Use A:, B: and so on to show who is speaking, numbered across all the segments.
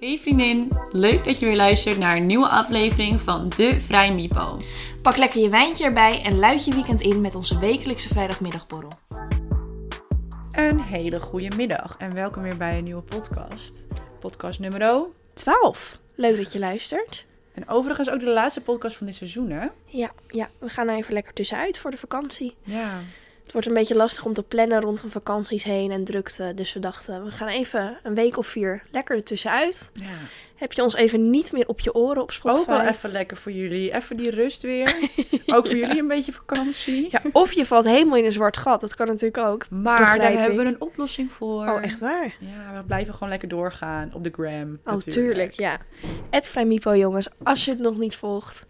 A: Hey vriendin, leuk dat je weer luistert naar een nieuwe aflevering van De Vrij Mipo.
B: Pak lekker je wijntje erbij en luid je weekend in met onze wekelijkse vrijdagmiddagborrel.
C: Een hele goede middag en welkom weer bij een nieuwe podcast. Podcast nummer 12.
D: Leuk dat je luistert.
C: En overigens ook de laatste podcast van dit seizoen, hè?
D: Ja, ja, we gaan er even lekker tussenuit voor de vakantie.
C: Ja.
D: Het wordt een beetje lastig om te plannen rondom vakanties heen en drukte. Dus we dachten, we gaan even een week of vier lekker ertussenuit.
C: ja.
D: Heb je ons even niet meer op je oren op Spotify?
C: Ook wel even lekker voor jullie. Even die rust weer. Ook voor jullie een beetje vakantie.
D: Ja, of je valt helemaal in een zwart gat. Dat kan natuurlijk ook.
C: Maar
D: Begrijp
C: daar
D: ik.
C: hebben we een oplossing voor.
D: Oh, echt waar?
C: Ja, we blijven gewoon lekker doorgaan op de gram.
D: Oh, tuurlijk, ja. Het Vrijmipo, jongens, als je het nog niet volgt.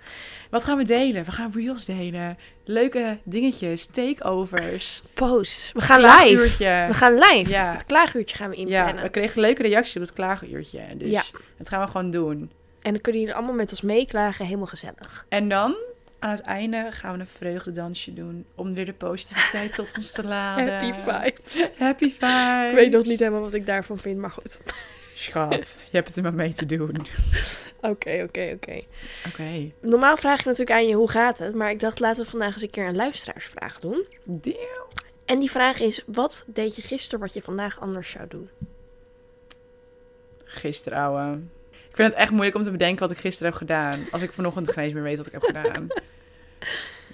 C: Wat gaan we delen? We gaan reels delen. Leuke dingetjes, takeovers.
D: Post. We gaan live.
C: Uurtje.
D: We gaan live.
C: Ja.
D: Het klaaguurtje gaan we
C: Ja,
D: inplannen.
C: we kregen leuke reacties op het klagenuurtje. Dus
D: Ja.
C: dat gaan we gewoon doen.
D: En dan kunnen jullie allemaal met ons meeklagen. Helemaal gezellig.
C: En dan, aan het einde, gaan we een vreugdedansje doen. Om weer de positiviteit tot ons te laden. Happy vibes.
D: Ik weet nog niet helemaal wat ik daarvan vind, maar goed.
C: Schat, je hebt het er maar mee te doen. Oké.
D: Oké, oké, oké. Normaal vraag ik natuurlijk aan je hoe gaat het, maar ik dacht laten we vandaag eens een keer een luisteraarsvraag doen.
C: Deal.
D: En die vraag is, wat deed je gisteren wat je vandaag anders zou doen?
C: Gisteren, ouwe. Ik vind het echt moeilijk om te bedenken wat ik gisteren heb gedaan. Als ik vanochtend geen eens meer weet wat ik heb gedaan.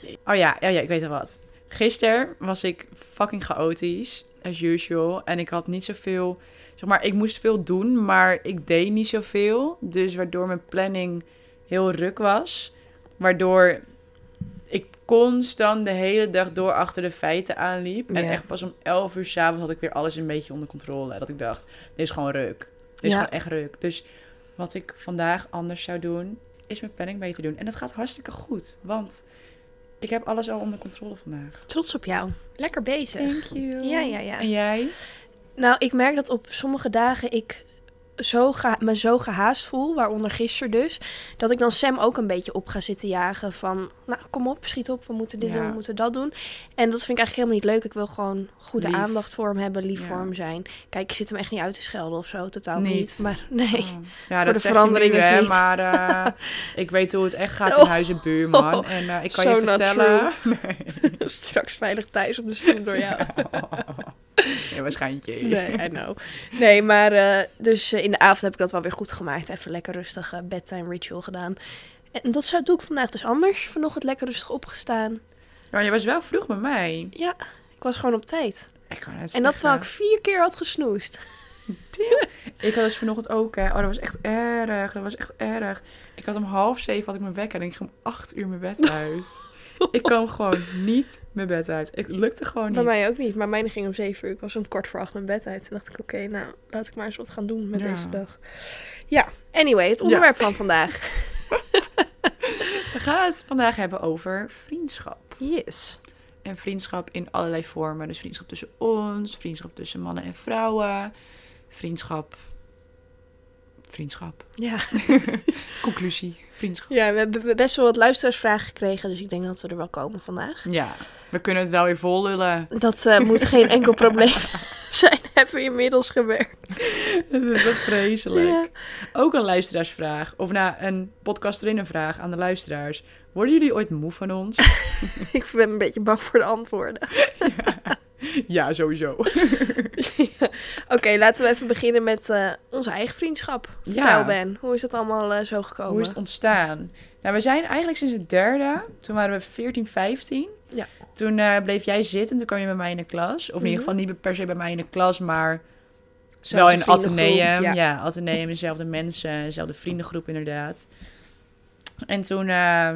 C: Jee. Oh ja, ja, ja, ik weet al wat. Gisteren was ik fucking chaotisch, as usual. En ik had niet zoveel... Zeg maar, ik moest veel doen, maar ik deed niet zoveel. Dus waardoor mijn planning heel ruk was. Waardoor ik constant de hele dag door achter de feiten aanliep. En
D: Ja.
C: echt pas om 11 uur s'avonds had ik weer alles een beetje onder controle. Dat ik dacht, dit is gewoon ruk. Dit is
D: Ja.
C: gewoon echt ruk. Dus wat ik vandaag anders zou doen, is mijn planning mee te doen. En dat gaat hartstikke goed, want ik heb alles al onder controle vandaag.
D: Trots op jou. Lekker bezig.
C: Thank you.
D: Ja, ja, ja.
C: En jij?
D: Nou, ik merk dat op sommige dagen ik zo geha- me zo gehaast voel, waaronder gisteren dus, dat ik dan Sam ook een beetje op ga zitten jagen van, nou kom op, schiet op, we moeten dit
C: Ja.
D: doen, we moeten dat doen. En dat vind ik eigenlijk helemaal niet leuk. Ik wil gewoon goede
C: Lief.
D: aandacht voor hem hebben, lief
C: Ja.
D: voor hem zijn. Kijk, ik zit hem echt niet uit te schelden of zo, totaal niet.
C: Niet.
D: Maar nee.
C: Oh. Ja,
D: Voor
C: dat
D: de
C: zeg
D: verandering
C: je nu,
D: is
C: hè,
D: niet.
C: maar eh, ik weet hoe het echt gaat in
D: Oh.
C: huizen buurman. En eh, ik kan je
D: So not
C: vertellen... Oh.
D: Straks veilig thuis op de stoel door jou.
C: Nee, waarschijnlijk.
D: Nee, I know. Nee, maar eh, dus eh, in de avond heb ik dat wel weer goed gemaakt. Even lekker rustig eh, bedtime ritual gedaan. En dat zou doe ik vandaag dus anders. Vanochtend lekker rustig opgestaan.
C: Maar je was wel vroeg bij mij.
D: Ja, ik was gewoon op tijd.
C: Ik kan het
D: En dat
C: zeggen.
D: terwijl ik vier keer had gesnoest.
C: Ik had dus vanochtend ook, hè. Oh, dat was echt erg. Dat was echt erg. Ik had om half zeven had ik mijn wekker en ik ging om acht uur mijn bed uit. ik kwam gewoon niet mijn bed uit. Het lukte gewoon niet.
D: Bij mij ook niet, maar mijn ging om zeven uur. Ik was om kwart voor acht mijn bed uit. Toen dacht ik, oké, nou laat ik maar eens wat gaan doen met
C: Ja.
D: deze dag. Ja, anyway, het onderwerp van vandaag.
C: We gaan het vandaag hebben over vriendschap.
D: Yes.
C: En vriendschap in allerlei vormen. Dus vriendschap tussen ons, vriendschap tussen mannen en vrouwen, vriendschap... Vriendschap.
D: Ja.
C: Conclusie. Vriendschap.
D: ja, we hebben best wel wat luisteraarsvragen gekregen, dus ik denk dat we er wel komen vandaag.
C: Ja, we kunnen het wel weer vol lullen.
D: Dat eh, moet geen enkel probleem zijn, hebben we inmiddels gewerkt.
C: Dat is toch vreselijk.
D: Ja.
C: Ook een luisteraarsvraag. Of na een podcast erin een vraag aan de luisteraars. Worden jullie ooit moe van ons?
D: Ik ben een beetje bang voor de antwoorden.
C: ja, sowieso.
D: Ja. Oké, laten we even beginnen met eh, onze eigen vriendschap. Vertel
C: Ja.
D: Ben, hoe is dat allemaal eh, zo gekomen?
C: Hoe is het ontstaan? Nou, we zijn eigenlijk sinds het derde. Toen waren we 14, 15.
D: Ja.
C: Toen eh, bleef jij zitten. Toen kwam je bij mij in de klas. Of in ieder
D: Mhm.
C: geval niet per se bij mij in de klas, maar
D: Zelfde
C: wel in een
D: vriendengroep,
C: ateneum. Ja.
D: Ja.
C: ateneum, dezelfde mensen, dezelfde vriendengroep inderdaad. En toen eh,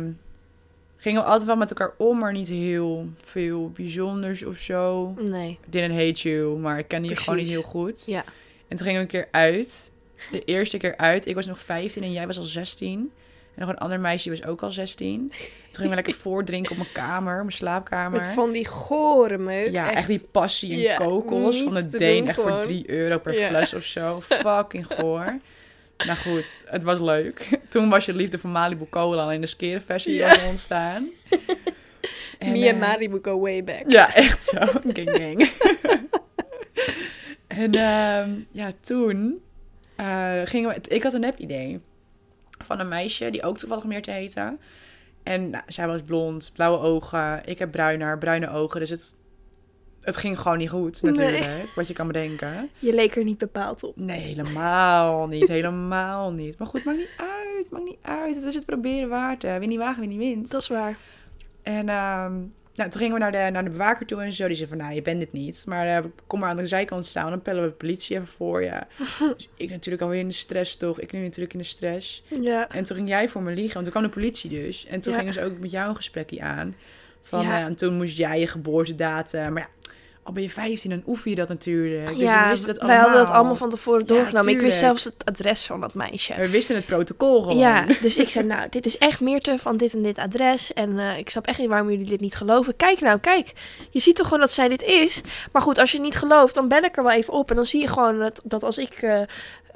C: gingen we altijd wel met elkaar om, maar niet heel veel bijzonders of zo.
D: Nee.
C: I didn't hate you, maar ik kende je gewoon niet
D: Precies.
C: heel goed.
D: Ja.
C: En toen gingen we een keer uit. De eerste keer uit. Ik was nog 15 en jij was al 16. En nog een ander meisje was ook al 16. Toen gingen we lekker voordrinken op mijn kamer, mijn slaapkamer.
D: Met van die gore meuk.
C: ja, echt, die passie en
D: Ja,
C: kokos
D: niet
C: van de
D: te
C: Deen.
D: doen
C: echt voor
D: gewoon.
C: 3 euro per
D: Ja.
C: fles of zo. Fucking goor. Nou goed, het was leuk. Toen was je liefde voor Malibu Cola alleen de skere versie die
D: Ja.
C: was ontstaan. En,
D: Me
C: eh,
D: and Mari would go way back.
C: ja, echt zo. Gang, gang. en ehm, ja, toen eh, gingen we, ik had een nep idee van een meisje die ook toevallig meer te heette. En nou, zij was blond, blauwe ogen. Ik heb bruin haar, bruine ogen. Dus het, het ging gewoon niet goed,
D: Nee.
C: natuurlijk. Wat je kan bedenken.
D: Je leek er niet bepaald op.
C: Nee, helemaal niet. Helemaal niet. Maar goed, maakt niet uit. Maakt niet uit. Het is het proberen waard. hè. Wie niet wagen, wie niet wint.
D: Dat is waar.
C: En ehm, nou, toen gingen we naar de, naar de bewaker toe en zo. Die zei van, nou, je bent dit niet. Maar eh, kom maar aan de zijkant staan. Dan pellen we de politie even voor je. dus ik natuurlijk alweer in de stress, toch? Ik nu natuurlijk in de stress.
D: Ja.
C: En toen ging jij voor me liegen. Want toen kwam de politie dus. En toen
D: Ja.
C: gingen ze ook met jou een gesprekje aan. Van,
D: Ja.
C: eh, en toen moest jij je geboortedatum. Maar ja, al ben je 15, dan oefen je dat natuurlijk. Dus we
D: ja,
C: wisten dat
D: wij hadden dat allemaal van tevoren
C: Ja,
D: doorgenomen. ik wist
C: tuurlijk.
D: zelfs het adres van dat meisje.
C: We wisten het protocol gewoon.
D: Ja, dus ik zei, nou, dit is echt Meerte van dit en dit adres. En eh, ik snap echt niet waarom jullie dit niet geloven. Kijk nou, kijk. Je ziet toch gewoon dat zij dit is? Maar goed, als je het niet gelooft, dan bel ik er wel even op. En dan zie je gewoon dat, dat als ik eh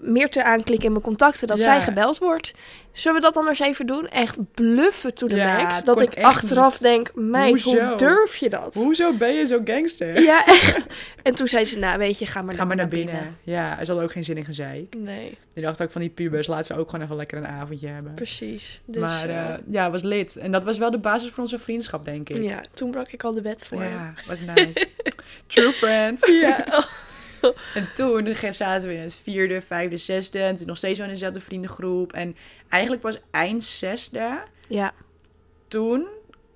D: Meerte aanklik in mijn contacten, dat
C: Ja.
D: zij gebeld wordt. Zullen we dat dan maar eens even doen? Echt bluffen to the
C: Ja,
D: max.
C: het
D: Dat
C: kon
D: ik
C: echt
D: achteraf
C: niet.
D: denk, meid, hoe
C: Hoezo?
D: durf je dat?
C: Hoezo ben je zo gangster?
D: Ja, echt. En toen zei ze, nou, weet je, ga maar,
C: Ga maar naar binnen.
D: binnen.
C: Ja, ze hadden ook geen zin in gezeik.
D: Nee,
C: Die dacht ook van die pubers, laat ze ook gewoon even lekker een avondje hebben.
D: precies. Dus,
C: maar eh,
D: eh,
C: ja, het was lid. En dat was wel de basis voor onze vriendschap, denk ik.
D: ja, toen brak ik al de wet voor hem.
C: Ja, was nice. True friend.
D: Ja.
C: En toen ge- zaten we in het vierde, vijfde, zesde. En toen nog steeds wel in dezelfde vriendengroep. En eigenlijk pas eind zesde,
D: ja.
C: toen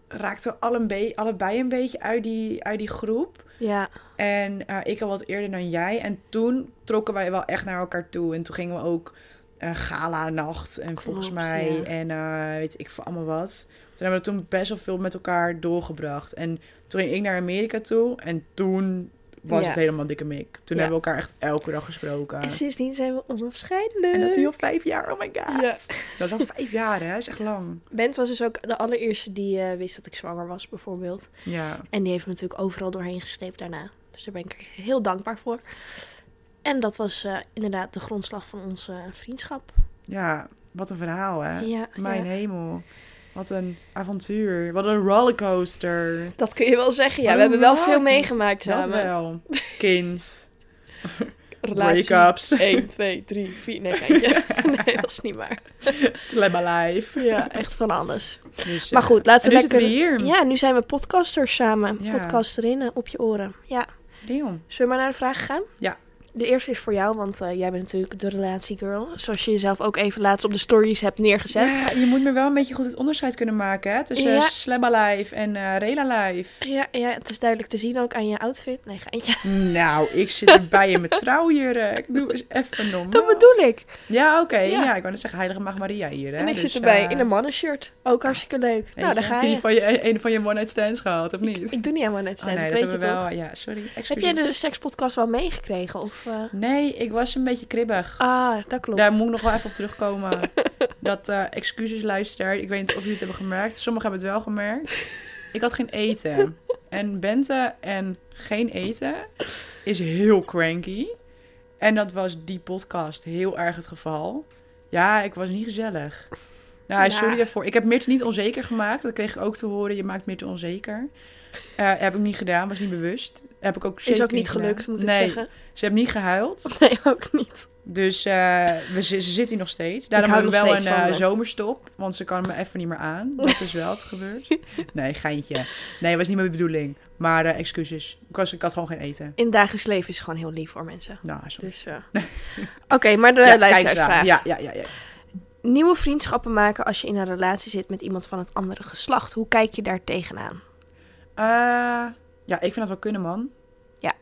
C: raakten we alle een be- allebei een beetje uit die, uit die groep.
D: Ja,
C: En eh, ik al wat eerder dan jij. En toen trokken wij wel echt naar elkaar toe. En toen gingen we ook een gala-nacht. En volgens
D: Klopt,
C: mij,
D: ja.
C: en eh, weet ik veel, allemaal wat. Toen hebben we toen best wel veel met elkaar doorgebracht. En toen ging ik naar Amerika toe. En toen was
D: Ja.
C: het helemaal dikke mik. Toen
D: Ja.
C: hebben we elkaar echt elke dag gesproken.
D: en sindsdien zijn we onafscheidelijk.
C: En dat is nu al vijf jaar, oh my god.
D: Ja.
C: Dat is al vijf jaar, hè? Dat is echt lang.
D: Bent was dus ook de allereerste die eh, wist dat ik zwanger was, bijvoorbeeld.
C: Ja.
D: En die heeft me natuurlijk overal doorheen gesleept daarna. Dus daar ben ik heel dankbaar voor. En dat was eh, inderdaad de grondslag van onze vriendschap.
C: Ja, wat een verhaal, hè?
D: Ja,
C: Mijn
D: ja.
C: hemel. Wat een avontuur. Wat een rollercoaster.
D: dat kun je wel zeggen. Ja,
C: Wat
D: we hebben wel veel
C: romantisch.
D: meegemaakt
C: Dat
D: samen.
C: wel. Kind.
D: Relatie.
C: Breakups.
D: 1, 2, 3, 4. Nee, geintje. nee, dat is niet waar.
C: Slam alive.
D: Ja, echt van alles.
C: Dus,
D: Maar
C: eh,
D: goed, laten
C: en
D: we
C: nu
D: lekker...
C: zitten we hier.
D: Ja, nu zijn we podcasters samen.
C: Ja.
D: Podcasterinnen op je oren. Ja.
C: Damn.
D: Zullen we maar naar de vraag gaan?
C: Ja.
D: De eerste is voor jou, want eh, jij bent natuurlijk de relatiegirl. Zoals je jezelf ook even laatst op de stories hebt neergezet.
C: Ja, je moet me wel een beetje goed het onderscheid kunnen maken hè, tussen
D: Ja.
C: ja. Slam alive en eh Rela Live.
D: Ja, ja, het is duidelijk te zien ook aan je outfit. Nee, geintje.
C: Nou, ik zit erbij in mijn trouwjurk. Doe eens even normaal.
D: Dat bedoel ik.
C: Ja, oké.
D: Ja.
C: Ja. ik wou net zeggen Heilige Maag Maria hier. Hè?
D: en ik
C: Dus,
D: zit erbij
C: eh,
D: in een mannenshirt. Ook hartstikke leuk.
C: weet
D: Nou, daar
C: je,
D: ga
C: heb
D: je.
C: Van je, een van je one-night stands gehad, of niet?
D: Ik doe niet helemaal net
C: Oh, nee,
D: snaps, dat,
C: dat
D: weet je
C: hebben we
D: toch?
C: wel. Ja, sorry. Excuses.
D: Heb jij de sekspodcast wel meegekregen? Of, eh?
C: Nee, ik was een beetje kribbig.
D: Ah, dat klopt.
C: Daar moet ik nog wel even op terugkomen. dat eh, excuses luisteraar. Ik weet niet of jullie het hebben gemerkt. Sommigen hebben het wel gemerkt. Ik had geen eten. En bente en geen eten is heel cranky. En dat was die podcast heel erg het geval. Ja, ik was niet gezellig. Nou,
D: Ja.
C: sorry daarvoor. Ik heb Mirt niet onzeker gemaakt. Dat kreeg ik ook te horen. Je maakt Mirt onzeker. Eh, heb ik niet gedaan. Was niet bewust. Heb ik ook
D: is
C: zeker
D: ook niet gelukt,
C: gedaan.
D: moet
C: Nee,
D: ik zeggen.
C: Ze heeft niet gehuild.
D: Nee, ook niet.
C: Dus eh, we, ze, ze zit hier nog steeds. Daarom
D: hou
C: hebben we
D: nog
C: wel een
D: steeds van
C: eh,
D: me.
C: zomerstop. Want ze kan me even niet meer aan. Dat is wel het gebeurd. Nee, geintje. Nee, was niet mijn bedoeling. Maar eh, excuses. Ik, was, ik had gewoon geen eten.
D: In het dagelijks leven is het gewoon heel lief voor mensen.
C: Nou, sorry.
D: Dus, eh. Oké, maar de
C: Ja,
D: luisteraarsvraag.
C: kijksraam. Ja, ja, ja, ja.
D: Nieuwe vriendschappen maken als je in een relatie zit met iemand van het andere geslacht. Hoe kijk je daar tegenaan?
C: Eh, ja, ik vind dat wel kunnen, man.
D: Ja.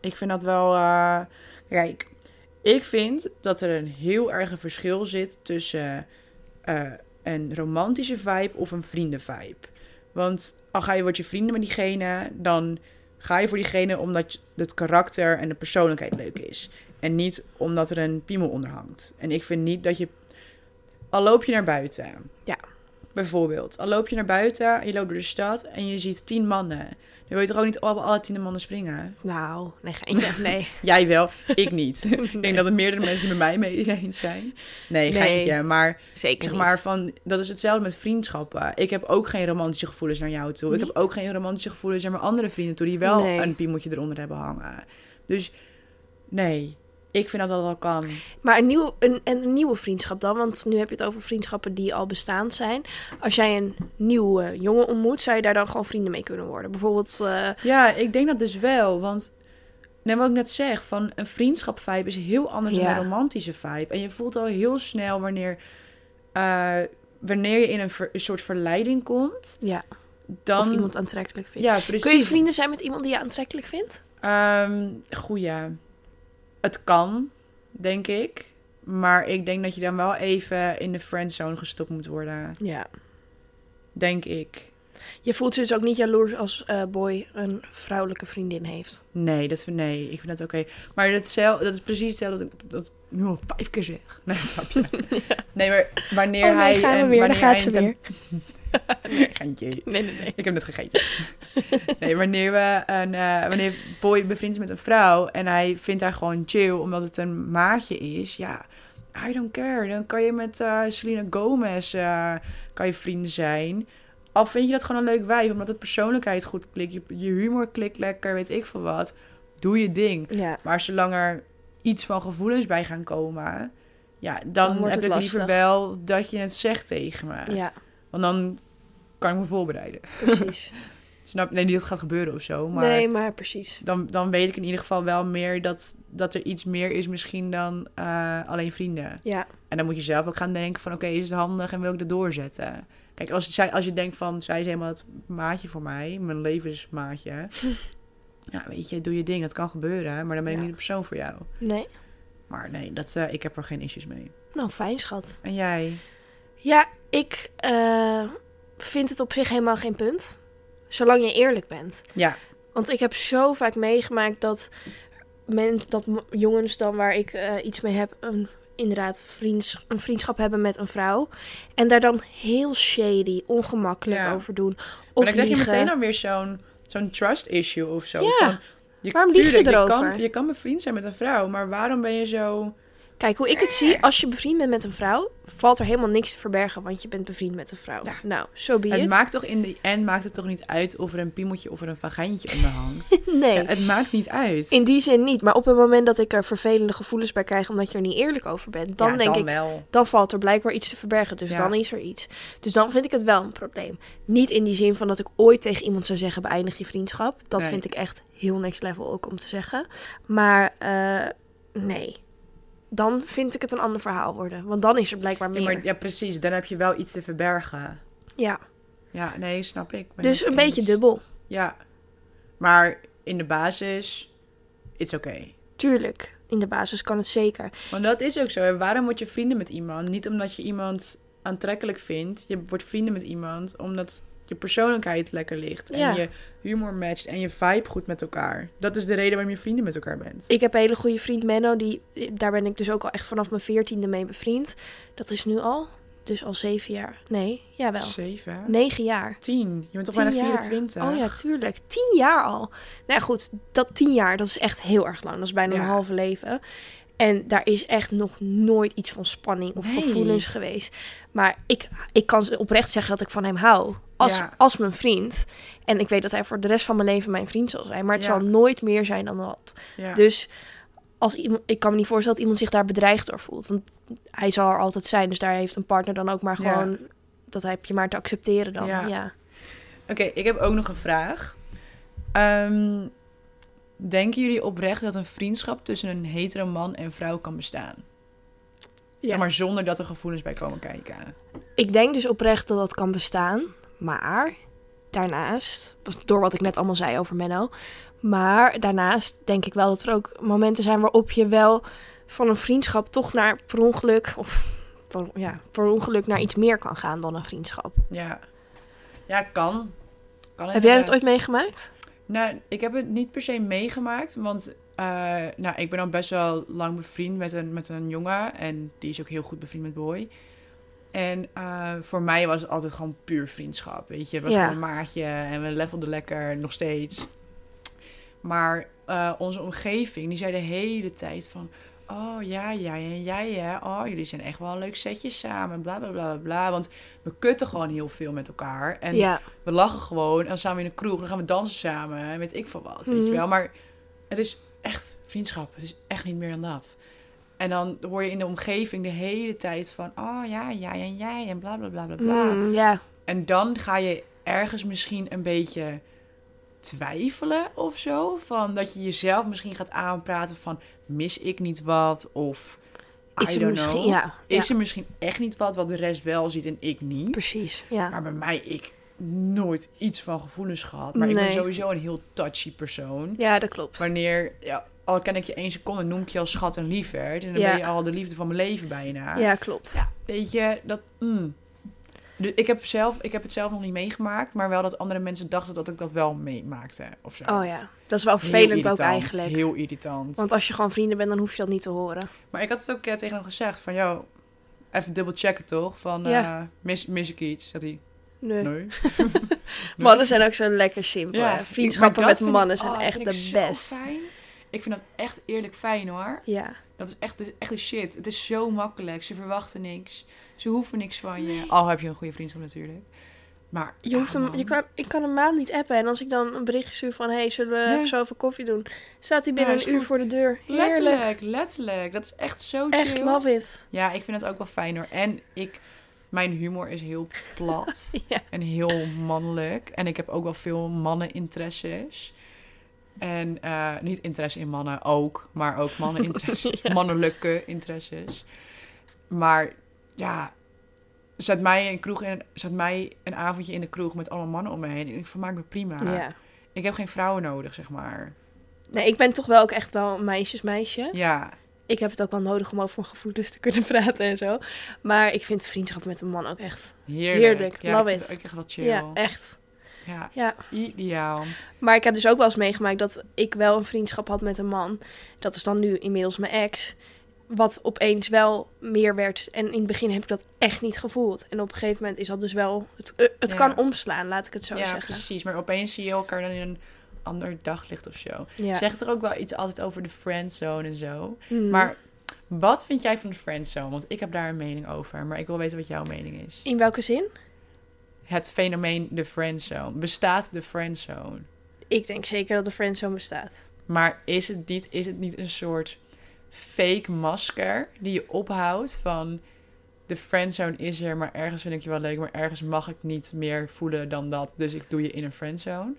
C: Ik vind dat wel... eh, kijk, ik vind dat er een heel erg een verschil zit tussen eh, een romantische vibe of een vrienden-vibe. Want al ga je wordt je vrienden met diegene, dan ga je voor diegene omdat je- het karakter en de persoonlijkheid leuk is. En niet omdat er een piemel onder hangt. En ik vind niet dat je... Al loop je naar buiten.
D: Ja.
C: Bijvoorbeeld. Al loop je naar buiten, je loopt door de stad en je ziet tien mannen. Dan wil je toch ook niet op alle tien de mannen springen?
D: Nou, nee, geintje. Nee.
C: Jij wel, ik niet. Ik denk dat er meerdere mensen het met mij mee eens zijn. Nee,
D: Nee.
C: geintje. Maar
D: Zeker
C: zeg maar van, dat is hetzelfde met vriendschappen. Ik heb ook geen romantische gevoelens naar jou toe. Ik
D: Niet?
C: heb ook geen romantische gevoelens naar mijn andere vrienden toe, die wel
D: Nee.
C: een piemeltje eronder hebben hangen. Dus nee, Ik vind dat dat wel kan.
D: Maar een, nieuw, een, en een nieuwe vriendschap dan, want nu heb je het over vriendschappen die al bestaand zijn. Als jij een nieuwe jongen ontmoet, zou je daar dan gewoon vrienden mee kunnen worden. Bijvoorbeeld, eh,
C: Ja, ik denk dat dus wel. Want net wat ik net zeg, van een vriendschap vibe is heel anders dan
D: Ja.
C: een romantische vibe. En je voelt al heel snel wanneer, eh, wanneer je in een, ver- een soort verleiding komt.
D: ja,
C: Dan,
D: of iemand aantrekkelijk vindt.
C: Ja,
D: Kun je
C: precies.
D: vrienden zijn met iemand die je aantrekkelijk vindt?
C: Ehm goed ja. Het kan, denk ik. Maar ik denk dat je dan wel even in de friendzone gestopt moet worden.
D: Ja.
C: Denk ik.
D: Je voelt je dus ook niet jaloers als eh, boy een vrouwelijke vriendin heeft.
C: Nee, dat, nee ik vind dat oké. Maar dat, cel, dat is precies hetzelfde dat ik dat ik nu al vijf keer zeg. Nee, grapje. Nee, maar wanneer
D: oh nee,
C: hij...
D: gaan we
C: een-
D: weer. Daar
C: wanneer hij
D: gaat ze
C: een
D: weer.
C: tem- Nee, geintje.
D: Nee, nee, nee.
C: Ik heb net gegeten. Nee, wanneer, we een, eh, wanneer boy bevriend is met een vrouw en hij vindt haar gewoon chill omdat het een maatje is, ja, I don't care. Dan kan je met eh, Selena Gomez eh, kan je vrienden zijn. Al vind je dat gewoon een leuk wijf, omdat de persoonlijkheid goed klikt, je, je humor klikt lekker, weet ik veel wat. Doe je ding.
D: Ja.
C: Maar zolang er iets van gevoelens bij gaan komen, ja, dan,
D: Dan wordt
C: heb
D: het
C: ik
D: lastig.
C: liever wel dat je het zegt tegen me.
D: Ja,
C: Want dan kan ik me voorbereiden.
D: precies.
C: Snap? Nee, niet dat het gaat gebeuren of zo. Maar
D: Nee, maar precies.
C: dan, dan weet ik in ieder geval wel meer dat, dat er iets meer is misschien dan eh, alleen vrienden.
D: Ja,
C: En dan moet je zelf ook gaan denken van oké, is het handig en wil ik dat doorzetten? Kijk, als, zij, als je denkt van zij is helemaal het maatje voor mij, mijn levensmaatje. ja, weet je, doe je ding, dat kan gebeuren, maar dan ben ik
D: Ja.
C: niet de persoon voor jou.
D: nee.
C: Maar nee, dat, eh, ik heb er geen issues mee.
D: Nou, fijn, schat.
C: En jij?
D: Ja, ik eh, vind het op zich helemaal geen punt. Zolang je eerlijk bent.
C: Ja.
D: Want ik heb zo vaak meegemaakt dat, men, dat m- jongens dan waar ik eh, iets mee heb, een, inderdaad vriends, een vriendschap hebben met een vrouw. En daar dan heel shady, ongemakkelijk
C: Ja.
D: over doen.
C: Maar
D: Of
C: dan krijg je
D: liegen.
C: meteen alweer zo'n zo'n trust issue of zo.
D: Ja.
C: Van, je,
D: Waarom lieg je
C: tuurlijk, Je
D: erover?
C: kan, je kan bevriend zijn met een vrouw, maar waarom ben je zo...
D: Kijk, hoe ik het
C: "Eh."
D: zie, als je bevriend bent met een vrouw, valt er helemaal niks te verbergen, want je bent bevriend met een vrouw.
C: Ja.
D: Nou, zo so be
C: Het
D: it.
C: maakt toch in de end maakt het toch niet uit of er een piemeltje of er een vagijntje onder hangt.
D: nee.
C: Ja, het maakt niet uit.
D: In die zin niet, maar op het moment dat ik er vervelende gevoelens bij krijg omdat je er niet eerlijk over bent, dan
C: Ja,
D: denk
C: dan
D: ik,
C: wel.
D: dan valt er blijkbaar iets te verbergen. Dus
C: Ja.
D: dan is er iets. Dus dan vind ik het wel een probleem. Niet in die zin van dat ik ooit tegen iemand zou zeggen: beëindig je vriendschap. Dat
C: Nee.
D: vind ik echt heel next level ook om te zeggen. Maar eh, nee. Dan vind ik het een ander verhaal worden. Want dan is er blijkbaar
C: Ja,
D: meer. Ja.
C: maar, ja, precies. Dan heb je wel iets te verbergen. Ja, nee, snap ik. Ben
D: Dus
C: ik
D: een
C: eens.
D: beetje dubbel.
C: Ja. Maar in de basis, it's oké.
D: Tuurlijk. In de basis kan het zeker.
C: Want dat is ook zo. hè. Waarom word je vrienden met iemand? Niet omdat je iemand aantrekkelijk vindt. Je wordt vrienden met iemand omdat je persoonlijkheid lekker ligt. En
D: Ja.
C: je humor matcht en je vibe goed met elkaar. Dat is de reden waarom je vrienden met elkaar bent.
D: Ik heb een hele goede vriend Menno, die, daar ben ik dus ook al echt vanaf mijn veertiende mee bevriend. Dat is nu al, dus al zeven jaar. Nee, jawel.
C: Zeven?
D: Negen jaar.
C: Tien. Je bent toch
D: Tien
C: bijna
D: jaar.
C: 24?
D: Oh ja, tuurlijk. Tien jaar al. Nou ja, goed, dat tien jaar, dat is echt heel erg lang. Dat is bijna
C: Ja.
D: een halve leven. En daar is echt nog nooit iets van spanning of
C: Nee.
D: gevoelens geweest. Maar ik, ik kan oprecht zeggen dat ik van hem hou. Als,
C: Ja.
D: als mijn vriend. En ik weet dat hij voor de rest van mijn leven mijn vriend zal zijn. Maar het
C: Ja.
D: zal nooit meer zijn dan dat.
C: Ja.
D: Dus als iemand, ik kan me niet voorstellen dat iemand zich daar bedreigd door voelt. Want hij zal er altijd zijn. Dus daar heeft een partner dan ook maar
C: Ja.
D: gewoon... Dat heb je maar te accepteren dan.
C: Ja.
D: Ja.
C: Oké, ik heb ook nog een vraag. Ehm, denken jullie oprecht dat een vriendschap tussen een hetero man en vrouw kan bestaan?
D: Ja.
C: Zeg maar zonder dat er gevoelens bij komen kijken.
D: Ik denk dus oprecht dat dat kan bestaan. Maar daarnaast, dat is door wat ik net allemaal zei over Menno. Maar daarnaast denk ik wel dat er ook momenten zijn waarop je wel van een vriendschap toch naar per ongeluk... Of per- ja, per ongeluk naar iets meer kan gaan dan een vriendschap.
C: Ja, ja kan. kan
D: Heb jij dat
C: inderdaad.
D: ooit meegemaakt?
C: Nou, ik heb het niet per se meegemaakt, want eh, nou, ik ben al best wel lang bevriend met een, met een jongen en die is ook heel goed bevriend met Boy. En eh, voor mij was het altijd gewoon puur vriendschap, weet je. Het was
D: Ja.
C: gewoon een maatje en we levelden lekker, nog steeds. Maar eh, onze omgeving, die zei de hele tijd van... Oh ja, jij en jij hè. Oh, jullie zijn echt wel een leuk setje samen. Bla, bla, bla, bla, bla. Want we kutten gewoon heel veel met elkaar. En
D: ja.
C: we lachen gewoon en dan samen in de kroeg. Dan gaan we dansen samen en weet ik veel wat, weet je
D: Mhm.
C: wel. Maar het is echt vriendschap. Het is echt niet meer dan dat. En dan hoor je in de omgeving de hele tijd van, oh ja, jij en jij en bla bla bla bla bla.
D: Mm, ja.
C: En dan ga je ergens misschien een beetje twijfelen of zo. Van dat je jezelf misschien gaat aanpraten van mis ik niet wat of I
D: Is er
C: don't
D: misschien...
C: know.
D: Ja, ja,
C: Is er misschien echt niet wat wat de rest wel ziet en ik niet?
D: precies. Ja.
C: Maar bij mij, ik nooit iets van gevoelens gehad. Maar ik ben
D: Nee.
C: sowieso een heel touchy persoon.
D: ja, dat klopt.
C: Wanneer, ja, al ken ik je één seconde, noem ik je als schat en lieverd. En dan
D: Ja.
C: ben je al de liefde van mijn leven bijna.
D: Ja, klopt.
C: Ja, weet je, dat... mm. Dus ik heb, zelf, ik heb het zelf nog niet meegemaakt, maar wel dat andere mensen dachten dat ik dat wel meemaakte of zo.
D: Oh ja, dat is wel
C: Heel
D: vervelend ook
C: irritant,
D: eigenlijk.
C: Heel irritant.
D: Want als je gewoon vrienden bent, dan hoef je dat niet te horen.
C: Maar ik had het ook een keer tegen hem gezegd van, joh, even dubbel checken toch? Van,
D: Ja.
C: eh, mis, mis ik iets? Dat hij,
D: Nee.
C: nee.
D: Mannen zijn ook zo lekker simpel. hè. Vriendschappen
C: maar dat
D: met
C: vind
D: mannen
C: ik-
D: zijn
C: oh,
D: echt
C: vind ik
D: de
C: zo
D: best.
C: fijn. Ik vind dat echt eerlijk fijn hoor.
D: Ja.
C: Dat is echt de, echt de shit. Het is zo makkelijk. Ze verwachten niks. Ze hoeven niks van je. Al heb je een goede vriendschap natuurlijk. Maar
D: Je
C: ja,
D: hoeft hem,
C: man.
D: je kan, ik kan een maand niet appen. En als ik dan een berichtje stuur van... hey, zullen we
C: Ja.
D: even zoveel koffie doen? Staat hij binnen
C: Ja, is
D: een uur
C: goed.
D: voor de deur. Heerlijk.
C: Letterlijk, letterlijk. Dat is echt zo chill.
D: Echt love it.
C: Ja, ik vind het ook wel fijn hoor. En ik, mijn humor is heel plat
D: Ja.
C: en heel mannelijk. En ik heb ook wel veel manneninteresses. En eh, niet interesse in mannen ook, maar ook manneninteresses. Mannelijke interesses. Maar ja, zet mij, in een kroeg in, zet mij een avondje in de kroeg met allemaal mannen om me heen. En ik vermaak me prima.
D: Ja.
C: Ik heb geen vrouwen nodig, zeg maar.
D: Nee, ik ben toch wel ook echt wel een meisjesmeisje.
C: Ja,
D: Ik heb het ook wel nodig om over mijn gevoelens te kunnen praten en zo. Maar ik vind vriendschap met een man ook echt...
C: heerlijk.
D: Heerlijk,
C: ja,
D: love
C: ik vind
D: it.
C: het ook echt wel chill.
D: Ja, echt.
C: ja
D: Ja.
C: ideaal.
D: Maar ik heb dus ook wel eens meegemaakt dat ik wel een vriendschap had met een man. Dat is dan nu inmiddels mijn ex. Wat opeens wel meer werd. En in het begin heb ik dat echt niet gevoeld. En op een gegeven moment is dat dus wel. Het, eh, het
C: Ja.
D: kan omslaan, laat ik het zo
C: ja,
D: zeggen.
C: precies. Maar opeens zie je elkaar dan in een ander daglicht of zo.
D: Ja.
C: Zegt er ook wel iets altijd over de friendzone en zo.
D: Mhm.
C: Maar wat vind jij van de friendzone? Want ik heb daar een mening over. Maar ik wil weten wat jouw mening is.
D: In welke zin?
C: Het fenomeen de friendzone. Bestaat de friendzone?
D: Ik denk zeker dat de friendzone bestaat.
C: Maar is het niet, is het niet een soort fake masker die je ophoudt van... De friendzone is er, maar ergens vind ik je wel leuk, maar ergens mag ik niet meer voelen dan dat. Dus ik doe je in een friendzone.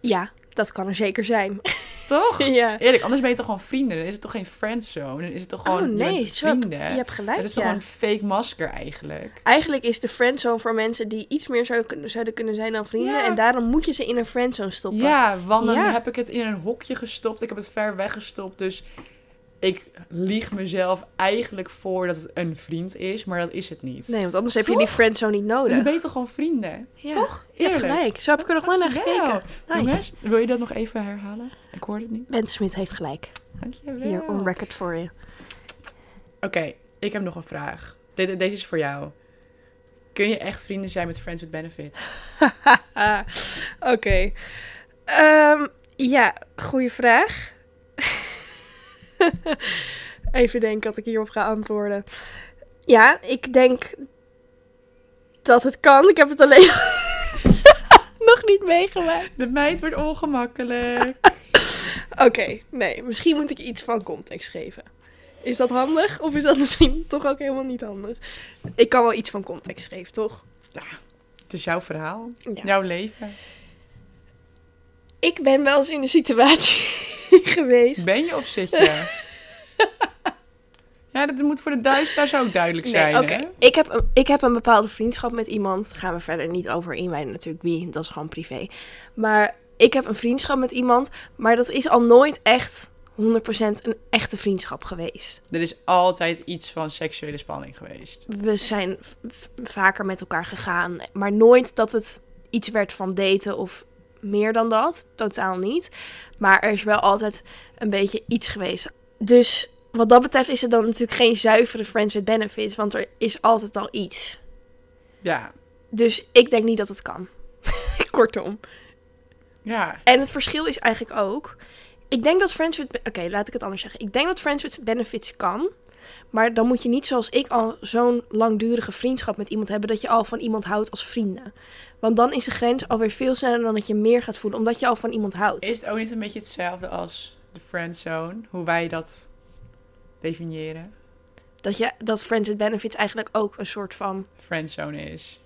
D: Ja, dat kan er zeker zijn.
C: Toch?
D: ja.
C: Eerlijk, anders ben je toch gewoon vrienden? Dan is het toch geen friendzone? Dan is het toch gewoon
D: oh
C: je
D: nee,
C: bent
D: zo heb-
C: vrienden?
D: je hebt gelijk.
C: het is toch
D: ja.
C: gewoon een fake masker eigenlijk?
D: Eigenlijk is de friendzone voor mensen die iets meer zouden kunnen, zouden kunnen zijn dan vrienden.
C: Ja.
D: En daarom moet je ze in een friendzone stoppen.
C: Ja, want dan
D: Ja.
C: heb ik het in een hokje gestopt. Ik heb het ver weg gestopt. Dus ik lieg mezelf eigenlijk voor dat het een vriend is. Maar dat is het niet.
D: Nee, want anders heb je die friendzone niet
C: En Dan
D: nodig.
C: ben je toch gewoon vrienden?
D: Toch? Je hebt
C: Eerlijk.
D: gelijk. Zo heb ik er nog wel naar
C: Dankjewel.
D: gekeken. Nice.
C: Jongens, wil je dat nog even herhalen? Ik hoor het niet.
D: Bent Smit heeft gelijk.
C: Dankjewel.
D: Hier, on record voor je.
C: Oké, ik heb nog een vraag. De- deze is voor jou. Kun je echt vrienden zijn met Friends with Benefits?
D: Oké. Ehm, ja, goede vraag. Even denken dat ik hierop ga antwoorden. Ja, ik denk dat het kan. Ik heb het alleen nog niet meegemaakt.
C: De meid wordt ongemakkelijk.
D: Oké, nee. Misschien moet ik iets van context geven. Is dat handig? Of is dat misschien toch ook helemaal niet handig? Ik kan wel iets van context geven, toch?
C: Het is jouw verhaal,
D: Ja.
C: jouw leven.
D: Ik ben wel eens in een situatie geweest.
C: Ben je of zit je? ja, dat moet voor de duisteraars ook duidelijk zijn.
D: Nee, oké.
C: hè?
D: Ik, heb een- ik heb een bepaalde vriendschap met iemand. Daar gaan we verder niet over inwijden natuurlijk wie. Dat is gewoon privé. Maar ik heb een vriendschap met iemand. Maar dat is al nooit echt 100% een echte vriendschap geweest.
C: Er is altijd iets van seksuele spanning geweest.
D: We zijn v- v- vaker met elkaar gegaan. Maar nooit dat het iets werd van daten of meer dan dat. Totaal niet. Maar er is wel altijd een beetje iets geweest. Dus wat dat betreft is het dan natuurlijk geen zuivere friends with benefits. Want er is altijd al iets.
C: Ja,
D: Dus ik denk niet dat het kan. Kortom.
C: ja.
D: En het verschil is eigenlijk ook. Ik denk dat Friends with. Be- Oké, laat ik het anders zeggen. Ik denk dat Friends with Benefits kan. Maar dan moet je niet zoals ik al zo'n langdurige vriendschap met iemand hebben. dat je al van iemand houdt als vrienden. Want dan is de grens alweer veel sneller dan dat je meer gaat voelen. omdat je al van iemand houdt.
C: Is het ook niet een beetje hetzelfde als de friendzone, hoe wij dat definiëren,
D: Dat, je, dat Friends with Benefits eigenlijk ook een soort van
C: friendzone is.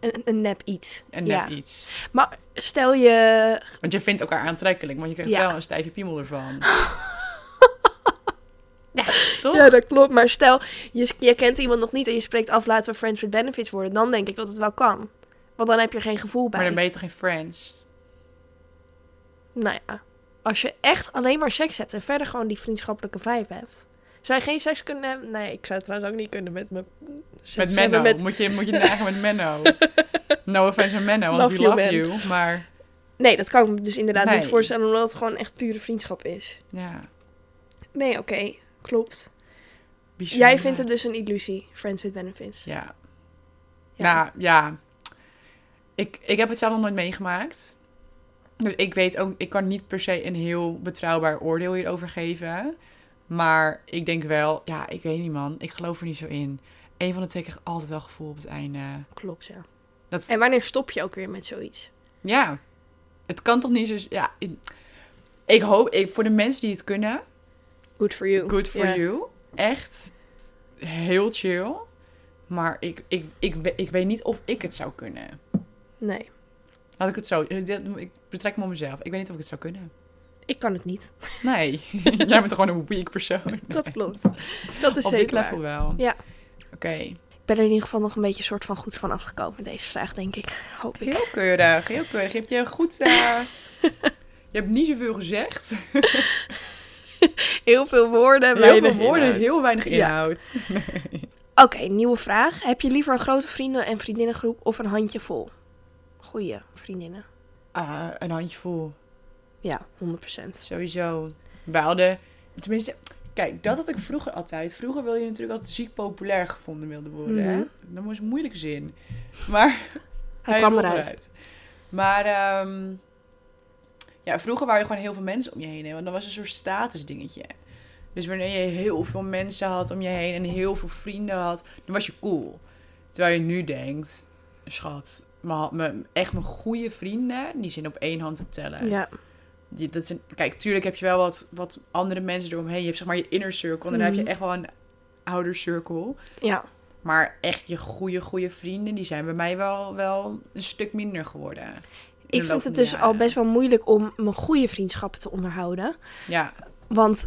D: een, een nep iets.
C: En
D: ja.
C: net iets.
D: Maar stel je...
C: Want je vindt elkaar aantrekkelijk, want je krijgt
D: Ja.
C: wel een stijve piemel ervan. ja, toch?
D: Ja, dat klopt. Maar stel, je, je kent iemand nog niet en je spreekt af laten we Friends with Benefits worden. Dan denk ik dat het wel kan. Want dan heb je er geen gevoel bij.
C: maar dan ben je toch geen friends?
D: Nou ja, als je echt alleen maar seks hebt en verder gewoon die vriendschappelijke vibe hebt. Zou je geen seks kunnen hebben? Nee, ik zou het trouwens ook niet kunnen met mijn...
C: Met Menno.
D: Met...
C: Moet je moet je nagaan met Menno. No offense aan Menno, want
D: Love
C: we
D: you,
C: love
D: man.
C: you. Maar
D: Nee, dat kan ik me dus inderdaad niet
C: Nee.
D: voorstellen, omdat het gewoon echt pure vriendschap is.
C: ja,
D: Nee, oké. Klopt.
C: bijzonder.
D: Jij vindt het dus een illusie, Friends with Benefits.
C: Ja. Nou, ja. Ik, ik heb het zelf nog nooit meegemaakt. Dus ik weet ook, ik kan niet per se een heel betrouwbaar oordeel hierover geven. Maar ik denk wel, ja, ik weet niet man, ik geloof er niet zo in. Eén van de twee krijgt altijd wel gevoel op het einde.
D: Klopt, ja.
C: Dat-
D: En wanneer stop je ook weer met zoiets?
C: Ja, het kan toch niet zo... Ja, ik, ik hoop, ik, voor de mensen die het kunnen,
D: Good for you.
C: Good for
D: Ja.
C: you. Echt heel chill. Maar ik, ik, ik, we- ik weet niet of ik het zou kunnen.
D: Nee,
C: Laat ik het zo. eh, Ik betrek me op mezelf. Ik weet niet of ik het zou kunnen.
D: ik kan het niet.
C: Nee. Jij bent gewoon een weak persoon.
D: Dat klopt. Dat is
C: Op dit
D: zeker waar.
C: level wel.
D: Ja.
C: Oké.
D: Ik ben er in ieder geval nog een beetje soort van goed van afgekomen met deze vraag, denk ik. Hoop ik.
C: Heel keurig. Heel keurig. Je hebt je goed. eh, je hebt niet zoveel gezegd.
D: Heel veel woorden,
C: Heel
D: weinig
C: veel woorden,
D: inhoud.
C: heel weinig
D: Ja.
C: inhoud.
D: Oké, nieuwe vraag. Heb je liever een grote vrienden- en vriendinnengroep of een handjevol? Goeie vriendinnen.
C: Ah, een handjevol.
D: Ja, 100%.
C: Sowieso. Wij hadden, tenminste, kijk, dat had ik vroeger altijd. Vroeger wil je natuurlijk altijd ziek populair gevonden wilde worden.
D: Mhm.
C: hè? Dat was een moeilijke zin. Maar
D: Hij kwam
C: rolt
D: eruit.
C: Maar ehm, ja, vroeger waren je gewoon heel veel mensen om je heen. Hè? Want dat was een soort status dingetje. Dus wanneer je heel veel mensen had om je heen en heel veel vrienden had, dan was je cool. Terwijl je nu denkt, schat, mijn- mijn, echt mijn goede vrienden, die zijn op één hand te tellen.
D: Ja,
C: Die, dat zijn, kijk, tuurlijk heb je wel wat, wat andere mensen eromheen. Je hebt zeg maar je inner circle. En dan heb
D: Mhm.
C: je echt wel een ouder circle.
D: ja,
C: Maar echt je goede, goede vrienden, die zijn bij mij wel, wel een stuk minder geworden. In de
D: ik
C: loop
D: vind
C: van
D: het
C: de
D: dus
C: jaren.
D: al best wel moeilijk om mijn goede vriendschappen te onderhouden.
C: Ja,
D: Want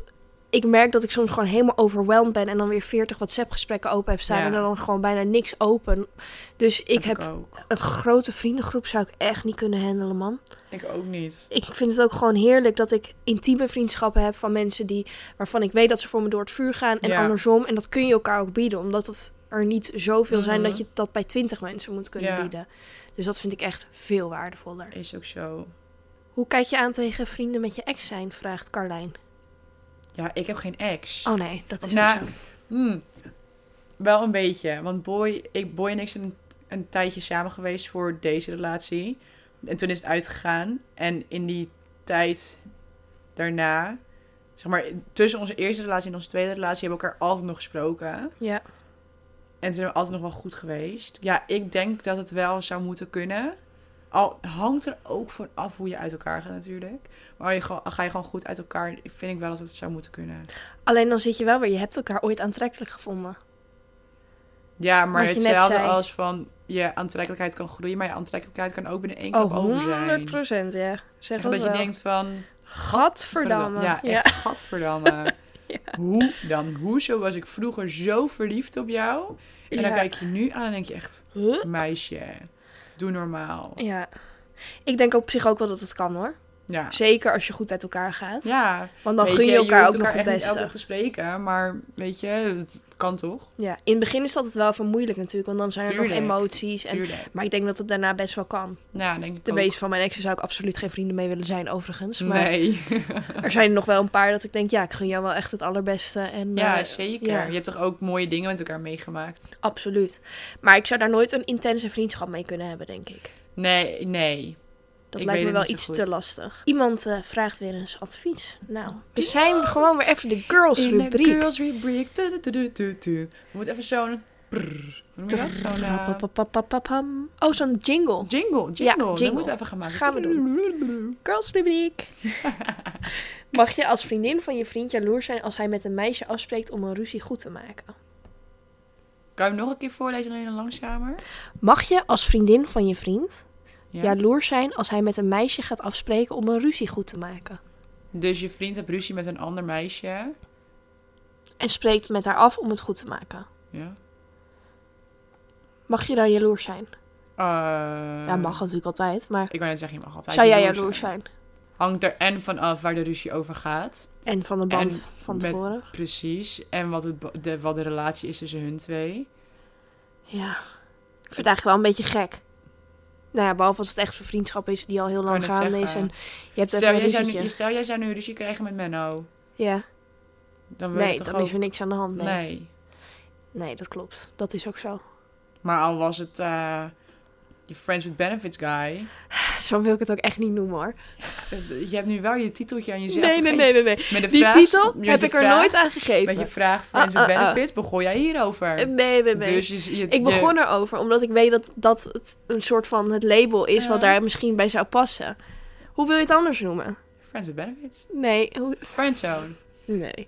D: ik merk dat ik soms gewoon helemaal overwhelmed ben en dan weer 40 WhatsApp-gesprekken open heb staan
C: Ja.
D: en dan gewoon bijna niks open. Dus ik
C: heb
D: heb
C: ik ook.
D: een grote vriendengroep zou ik echt niet kunnen handelen, man.
C: Ik ook niet.
D: Ik vind het ook gewoon heerlijk dat ik intieme vriendschappen heb van mensen die, waarvan ik weet dat ze voor me door het vuur gaan en
C: Ja.
D: andersom. En dat kun je elkaar ook bieden, omdat het er niet zoveel zijn
C: Mhm.
D: dat je dat bij 20 mensen moet kunnen
C: Ja.
D: bieden. Dus dat vind ik echt veel waardevoller.
C: Is ook zo.
D: Hoe kijk je aan tegen vrienden met je ex zijn? Vraagt Carlijn.
C: Ja, ik heb geen ex.
D: Oh nee, dat is
C: Nou,
D: niet zo.
C: Hmm. Wel een beetje. Want boy, ik, boy en ik zijn een, een tijdje samen geweest voor deze relatie. En toen is het uitgegaan. En in die tijd daarna, zeg maar, tussen onze eerste relatie en onze tweede relatie hebben we elkaar altijd nog gesproken.
D: Ja.
C: En ze zijn altijd nog wel goed geweest. Ja, ik denk dat het wel zou moeten kunnen. Al hangt er ook van af hoe je uit elkaar gaat natuurlijk. Maar je, gewoon- ga je gewoon goed uit elkaar, vind ik wel dat het zou moeten kunnen.
D: Alleen dan zit je wel weer, je hebt elkaar ooit aantrekkelijk gevonden.
C: Ja, maar
D: Wat je net
C: hetzelfde
D: zei.
C: als van je aantrekkelijkheid kan groeien, maar je aantrekkelijkheid kan ook binnen één
D: Oh,
C: klap over zijn.
D: ja. Zeg
C: Echt dat je denkt van,
D: gadverdamme.
C: ja, echt gadverdamme. Hoe dan? Hoezo was ik vroeger zo verliefd op jou? En dan
D: Ja.
C: kijk je nu aan en denk je echt,
D: Huh?
C: meisje, doe normaal.
D: Ja. Ik denk op zich ook wel dat het kan hoor.
C: Ja.
D: Zeker als je goed uit elkaar gaat.
C: Ja,
D: Want dan
C: weet
D: gun je elkaar
C: hoeft
D: ook nog het
C: echt niet elke
D: beste.
C: dag te spreken, maar weet je, het kan toch?
D: Ja, in het begin is dat het wel even moeilijk natuurlijk, want dan zijn er nog
C: Tuurlijk.
D: emoties. En,
C: Tuurlijk.
D: maar ik denk dat het daarna best wel kan.
C: Nou, denk ik
D: De
C: ook.
D: meeste van mijn exen zou ik absoluut geen vrienden mee willen zijn overigens. Maar
C: Nee.
D: er zijn er nog wel een paar dat ik denk, ja, ik gun jou wel echt het allerbeste. En, eh,
C: Ja,
D: ja,
C: zeker.
D: ja.
C: Je hebt toch ook mooie dingen met elkaar meegemaakt?
D: absoluut. Maar ik zou daar nooit een intense vriendschap mee kunnen hebben, denk ik.
C: Nee, nee.
D: Dat
C: Ik
D: lijkt me
C: weet het
D: wel
C: niet
D: iets
C: zo
D: te
C: goed.
D: lastig. Iemand eh, vraagt weer eens advies. Nou, we zijn gewoon weer even de girls rubriek.
C: girls rubriek. Du, du, du, du, du. We moeten even zo'n... Noem je dat? Zo'n eh,
D: Papapapapapam. Oh, zo'n jingle.
C: jingle. Jingle.
D: Ja,
C: Dat
D: jingle.
C: moeten we even gaan maken.
D: Gaan we doen. Girls rubriek. Mag je als vriendin van je vriend jaloers zijn als hij met een meisje afspreekt om een ruzie goed te maken?
C: Kan je hem nog een keer voorlezen, alleen dan langzamer?
D: Mag je als vriendin van je vriend
C: Ja.
D: jaloers zijn als hij met een meisje gaat afspreken om een ruzie goed te maken?
C: Dus je vriend hebt ruzie met een ander meisje.
D: En spreekt met haar af om het goed te maken.
C: Ja.
D: Mag je dan jaloers zijn?
C: Eh,
D: Ja, mag natuurlijk altijd, maar
C: Ik wou net zeggen, je mag altijd
D: zou jij
C: jaloers
D: jaloers zijn?
C: Hangt er en van af waar de ruzie over gaat.
D: En van de
C: En
D: band van
C: met-
D: tevoren?
C: Precies. En wat, het, ba- de, wat de relatie is tussen hun twee.
D: Ja. Ik vind het eigenlijk wel een beetje gek. Nou ja, behalve als het echt een vriendschap is die al heel lang
C: Ik wou net
D: gaande is. En
C: zeggen.
D: je hebt
C: Stel
D: even
C: jij,
D: een
C: zou nu,
D: ruzietje.
C: stel, jij zou nu ruzie krijgen met Menno.
D: Ja.
C: Dan wil
D: Nee,
C: je toch
D: dan
C: ook...
D: is er niks aan de hand. Nee.
C: Nee.
D: nee. dat klopt. Dat is ook zo.
C: Maar al was het eh, je Friends with Benefits guy.
D: Zo wil ik het ook echt niet noemen hoor.
C: Het- Je hebt nu wel je titeltje aan jezelf.
D: Nee, nee,
C: gegeven.
D: nee, nee. nee.
C: Met de
D: Die
C: vraag,
D: titel
C: met
D: heb
C: je
D: ik er
C: vraag-
D: nooit aan
C: Met je
D: gegeven.
C: vraag Friends
D: Ah,
C: with
D: ah, ah.
C: Benefits begon jij hierover.
D: Nee, nee, nee.
C: Dus je, je-
D: ik
C: je-
D: begon erover omdat ik weet dat dat het een soort van het label is wat
C: Ja.
D: daar misschien bij zou passen. Hoe wil je het anders noemen?
C: Friends with Benefits.
D: Nee. hoe-
C: Friendzone.
D: Nee.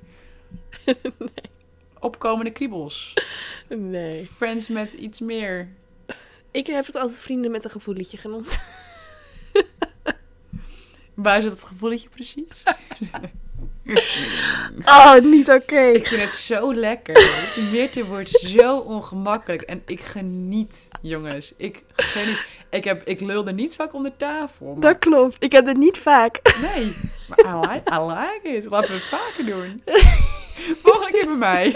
C: Opkomende kriebels.
D: Nee.
C: Friends met iets meer.
D: Ik heb het altijd vrienden met een gevoeletje genoemd.
C: Waar zit het gevoeletje precies?
D: Oh, niet oké.
C: Ik vind het zo lekker. Het Meerte wordt zo ongemakkelijk. En ik geniet, jongens. Ik, zeg niet, ik, heb, ik lul er niet vaak onder tafel. maar-
D: Dat klopt. Ik heb dit niet vaak.
C: Nee, maar I like, I like it. Laten we het vaker doen. Volgende keer bij mij.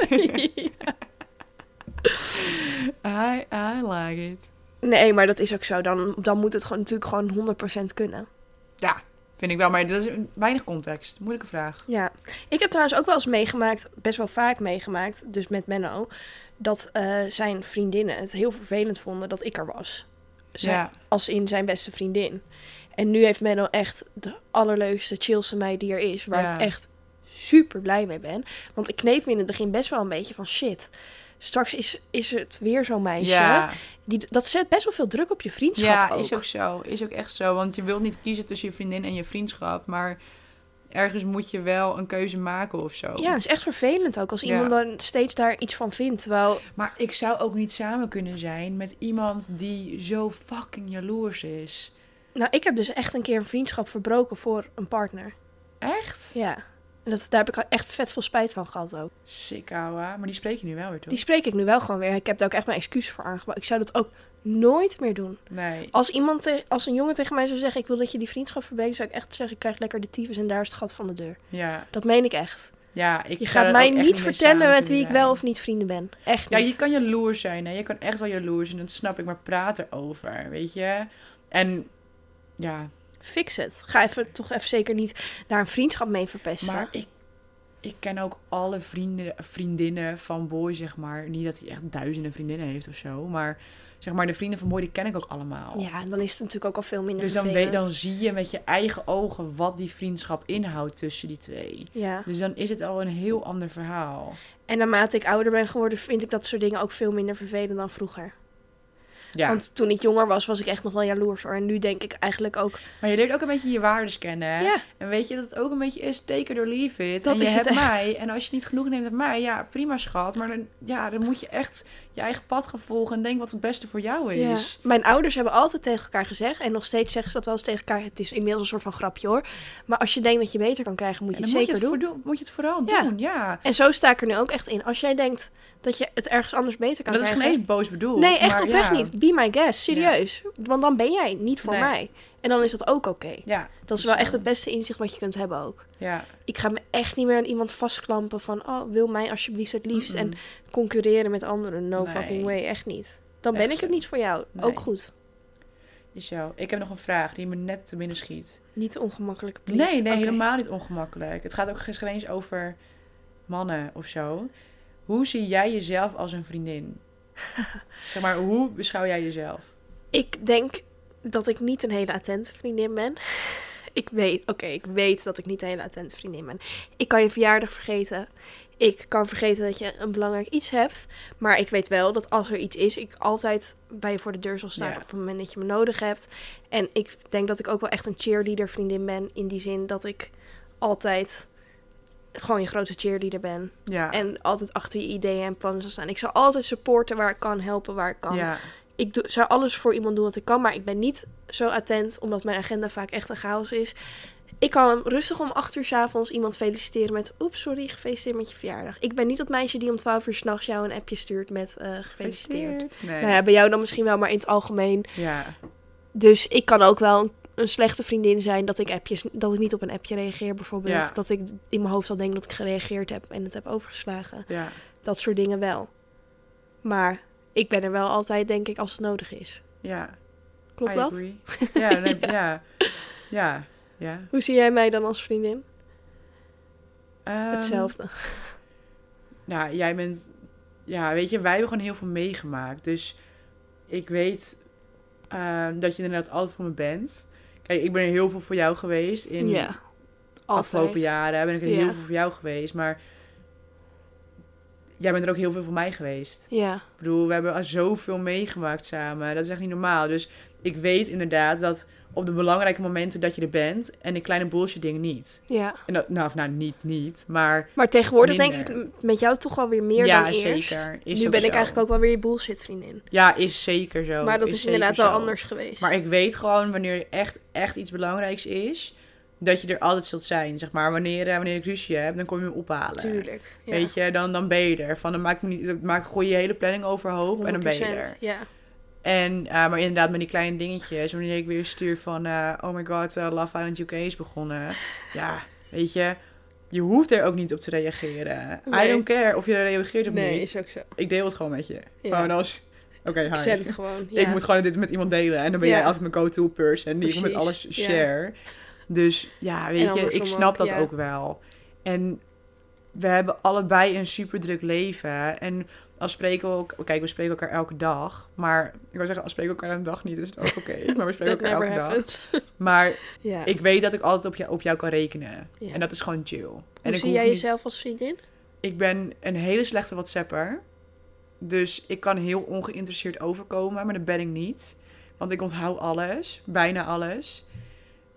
C: I, I like it.
D: Nee, maar dat is ook zo. Dan, dan moet het gewoon, natuurlijk gewoon 100% kunnen.
C: Ja, vind ik wel. Maar dat is een- weinig context. Moeilijke vraag.
D: Ja. Ik heb trouwens ook wel eens meegemaakt, best wel vaak meegemaakt, dus met Menno, dat eh, zijn vriendinnen het heel vervelend vonden dat ik er was. Zij-
C: Ja.
D: Als in zijn beste vriendin. En nu heeft Menno echt de allerleukste, chillste meid die er is, waar
C: Ja.
D: ik echt super blij mee ben. Want ik kneep me in het begin best wel een beetje van shit. Straks is, is het weer zo'n meisje.
C: Ja,
D: Die, dat zet best wel veel druk op je vriendschap
C: ja
D: ook.
C: is ook zo. Is ook echt zo. Want je wilt niet kiezen tussen je vriendin en je vriendschap. Maar ergens moet je wel een keuze maken of zo.
D: Ja, is echt vervelend ook als
C: Ja.
D: iemand dan steeds daar iets van vindt. Terwijl,
C: Maar ik zou ook niet samen kunnen zijn met iemand die zo fucking jaloers is.
D: nou, ik heb dus echt een keer een vriendschap verbroken voor een partner.
C: Echt?
D: Ja. En dat, daar heb ik echt vet veel spijt van gehad ook.
C: Sick, ouwe. Maar die spreek je nu wel weer, toch?
D: Die spreek ik nu wel gewoon weer. Ik heb daar ook echt mijn excuses voor aangeboden. Ik zou dat ook nooit meer doen.
C: Nee.
D: Als iemand, te- als een jongen tegen mij zou zeggen: Ik wil dat je die vriendschap verbreekt, zou ik echt zeggen: Ik krijg lekker de tyfus en daar is het gat van de deur.
C: Ja,
D: Dat meen ik echt.
C: ja ik
D: Je
C: zou
D: gaat
C: er
D: mij
C: ook echt
D: niet
C: mee
D: vertellen
C: samen
D: met wie ik
C: kunnen
D: wel
C: zijn.
D: of niet vrienden ben. Echt
C: Ja,
D: niet.
C: je kan jaloers zijn. Hè? Je kan echt wel jaloers zijn. Dat snap ik, maar praat erover, weet je? En ja,
D: Fix het. Ga even, toch even zeker niet daar een vriendschap mee verpesten.
C: maar ik, ik ken ook alle vrienden, vriendinnen van Boy, zeg maar. Niet dat hij echt duizenden vriendinnen heeft of zo, maar zeg maar de vrienden van Boy, die ken ik ook allemaal.
D: Ja, en dan is het natuurlijk ook al veel minder
C: Dus dan, weet,
D: vervelend.
C: dan zie je met je eigen ogen wat die vriendschap inhoudt tussen die twee.
D: Ja,
C: Dus dan is het al een heel ander verhaal.
D: en naarmate ik ouder ben geworden, vind ik dat soort dingen ook veel minder vervelend dan vroeger.
C: Ja.
D: Want toen ik jonger was, was ik echt nog wel jaloers hoor. En nu denk ik eigenlijk ook,
C: Maar je leert ook een beetje je waardes kennen. hè?
D: Ja.
C: En weet je dat het ook een beetje is, take it or leave it.
D: Dat
C: en je
D: is het
C: hebt
D: echt.
C: mij. En als je niet genoeg neemt met mij, ja, prima schat. Maar dan, ja, dan moet je echt je eigen pad gaan volgen en denk wat het beste voor dus. jou
D: ja.
C: is.
D: mijn ouders hebben altijd tegen elkaar gezegd. En nog steeds zeggen ze dat wel eens tegen elkaar. Het is inmiddels een soort van grapje hoor. Maar als je denkt dat je beter kan krijgen, moet
C: En
D: je
C: dan
D: het
C: moet je
D: zeker
C: het,
D: doen.
C: voor doen- moet je het vooral
D: Ja.
C: doen, ja.
D: En zo sta ik er nu ook echt in. Als jij denkt dat je het ergens anders beter kan
C: dat is geen
D: krijgen.
C: eens boos bedoeld.
D: Nee, echt
C: maar
D: oprecht
C: ja.
D: niet. Be my guest, serieus. Want dan ben jij niet voor
C: Nee.
D: mij. En dan is dat ook oké.
C: Ja,
D: Dat is wel echt
C: zo.
D: het beste inzicht wat je kunt hebben ook.
C: Ja,
D: ik ga me echt niet meer aan iemand vastklampen van... oh, wil mij alsjeblieft het liefst
C: Mm-mm.
D: en concurreren met anderen. No
C: Nee.
D: fucking way, echt niet. Dan ben
C: Echt
D: ik het
C: zo.
D: niet voor jou.
C: Nee.
D: Ook goed.
C: is zo. Ik heb nog een vraag die me net te binnen schiet.
D: Niet de ongemakkelijke plek.
C: Nee, nee,
D: Oké.
C: helemaal niet ongemakkelijk. Het gaat ook geen eens over mannen of zo. Hoe zie jij jezelf als een vriendin? zeg maar, hoe beschouw jij jezelf?
D: Ik denk dat ik niet een hele attente vriendin ben. ik weet, oké, ik weet dat ik niet een hele attente vriendin ben. Ik kan je verjaardag vergeten. ik kan vergeten dat je een belangrijk iets hebt. Maar ik weet wel dat als er iets is, ik altijd bij je voor de deur zal staan
C: Ja.
D: op het moment dat je me nodig hebt. En ik denk dat ik ook wel echt een cheerleader vriendin ben. In die zin dat ik altijd gewoon je grote cheerleader ben.
C: Ja.
D: En altijd achter je ideeën en plannen zal staan. Ik zal altijd supporten waar ik kan, helpen waar ik kan.
C: ja.
D: Ik doe, zou alles voor iemand doen wat ik kan, maar ik ben niet zo attent, omdat mijn agenda vaak echt een chaos is. Ik kan rustig om 8 uur 's avonds iemand feliciteren met... Oeps, sorry, gefeliciteerd met je verjaardag. Ik ben niet dat meisje die om 12 uur s'nachts jou een appje stuurt met eh, gefeliciteerd.
C: Nee.
D: Nou ja, bij jou dan misschien wel, maar in het algemeen.
C: ja.
D: Dus ik kan ook wel een, een slechte vriendin zijn dat ik, appjes, dat ik niet op een appje reageer bijvoorbeeld.
C: Ja.
D: Dat ik in mijn hoofd al denk dat ik gereageerd heb en het heb overgeslagen.
C: Ja.
D: Dat soort dingen wel. Maar ik ben er wel altijd, denk ik, als het nodig is.
C: Ja.
D: Klopt
C: I
D: dat?
C: agree. Ja, nee, ja. Ja. Ja.
D: Hoe zie jij mij dan als vriendin?
C: Ehm,
D: Hetzelfde.
C: Nou, jij bent... Ja, weet je, wij hebben gewoon heel veel meegemaakt. Dus ik weet ehm, dat je inderdaad altijd voor me bent. Kijk, ik ben er heel veel voor jou geweest in afgelopen
D: Altijd.
C: jaren. Ben ik er
D: Ja.
C: heel veel voor jou geweest. Maar jij bent er ook heel veel voor mij geweest.
D: Ja.
C: Ik bedoel, we hebben al zoveel meegemaakt samen. Dat is echt niet normaal. Dus ik weet inderdaad dat op de belangrijke momenten dat je er bent... en de kleine bullshit dingen niet.
D: ja.
C: En dat, nou, of nou, niet, niet. Maar
D: Maar tegenwoordig denk
C: Minder.
D: ik m- met jou toch wel weer meer
C: ja,
D: dan eerst.
C: zeker. Is
D: nu
C: ook
D: ben ik
C: zo.
D: eigenlijk ook wel weer je bullshit vriendin.
C: Ja, is zeker zo.
D: maar dat is,
C: zeker
D: inderdaad wel
C: zo.
D: anders geweest.
C: Maar ik weet gewoon wanneer er echt, echt iets belangrijks is... dat je er altijd zult zijn, zeg maar. Wanneer, eh, wanneer ik ruzie heb, dan kom je me ophalen.
D: Tuurlijk. Ja.
C: Weet je, dan, dan ben je er. Van, dan maak ik me niet, maak, gooi je hele planning overhoop en dan ben je er.
D: 100%, Ja.
C: En, eh, maar inderdaad, met die kleine dingetjes, wanneer ik weer stuur van, eh, oh my god, eh, Love Island UK is begonnen. Ja, weet je, je hoeft er ook niet op te reageren. I
D: Nee.
C: don't care of je er reageert of
D: Nee,
C: niet.
D: is ook zo.
C: Ik deel het gewoon met je.
D: Ja.
C: Gewoon als, oké, hi.
D: Accent gewoon. Ja.
C: Ik moet gewoon dit met iemand delen en dan ben
D: Ja.
C: jij altijd mijn go-to person die ik met
D: Precies,
C: alles
D: ja.
C: share. Dus ja, weet je,
D: andersom
C: ik snap
D: ook,
C: dat
D: ja.
C: ook wel. En we hebben allebei een super druk leven. En als spreken we elkaar, kijk, we spreken elkaar elke dag. Maar ik wil zeggen, als spreken we elkaar een dag niet, is het ook oké. maar we spreken elkaar
D: That
C: elke
D: never
C: dag.
D: happens.
C: Maar
D: ja.
C: ik weet dat ik altijd op jou, op jou kan rekenen.
D: Ja.
C: En dat is gewoon chill. en
D: Hoe
C: ik
D: zie
C: hoef
D: jij
C: niet-
D: jezelf als vriendin?
C: ik ben een hele slechte WhatsApper. Dus ik kan heel ongeïnteresseerd overkomen, maar dat ben ik niet. Want ik onthoud alles, bijna alles.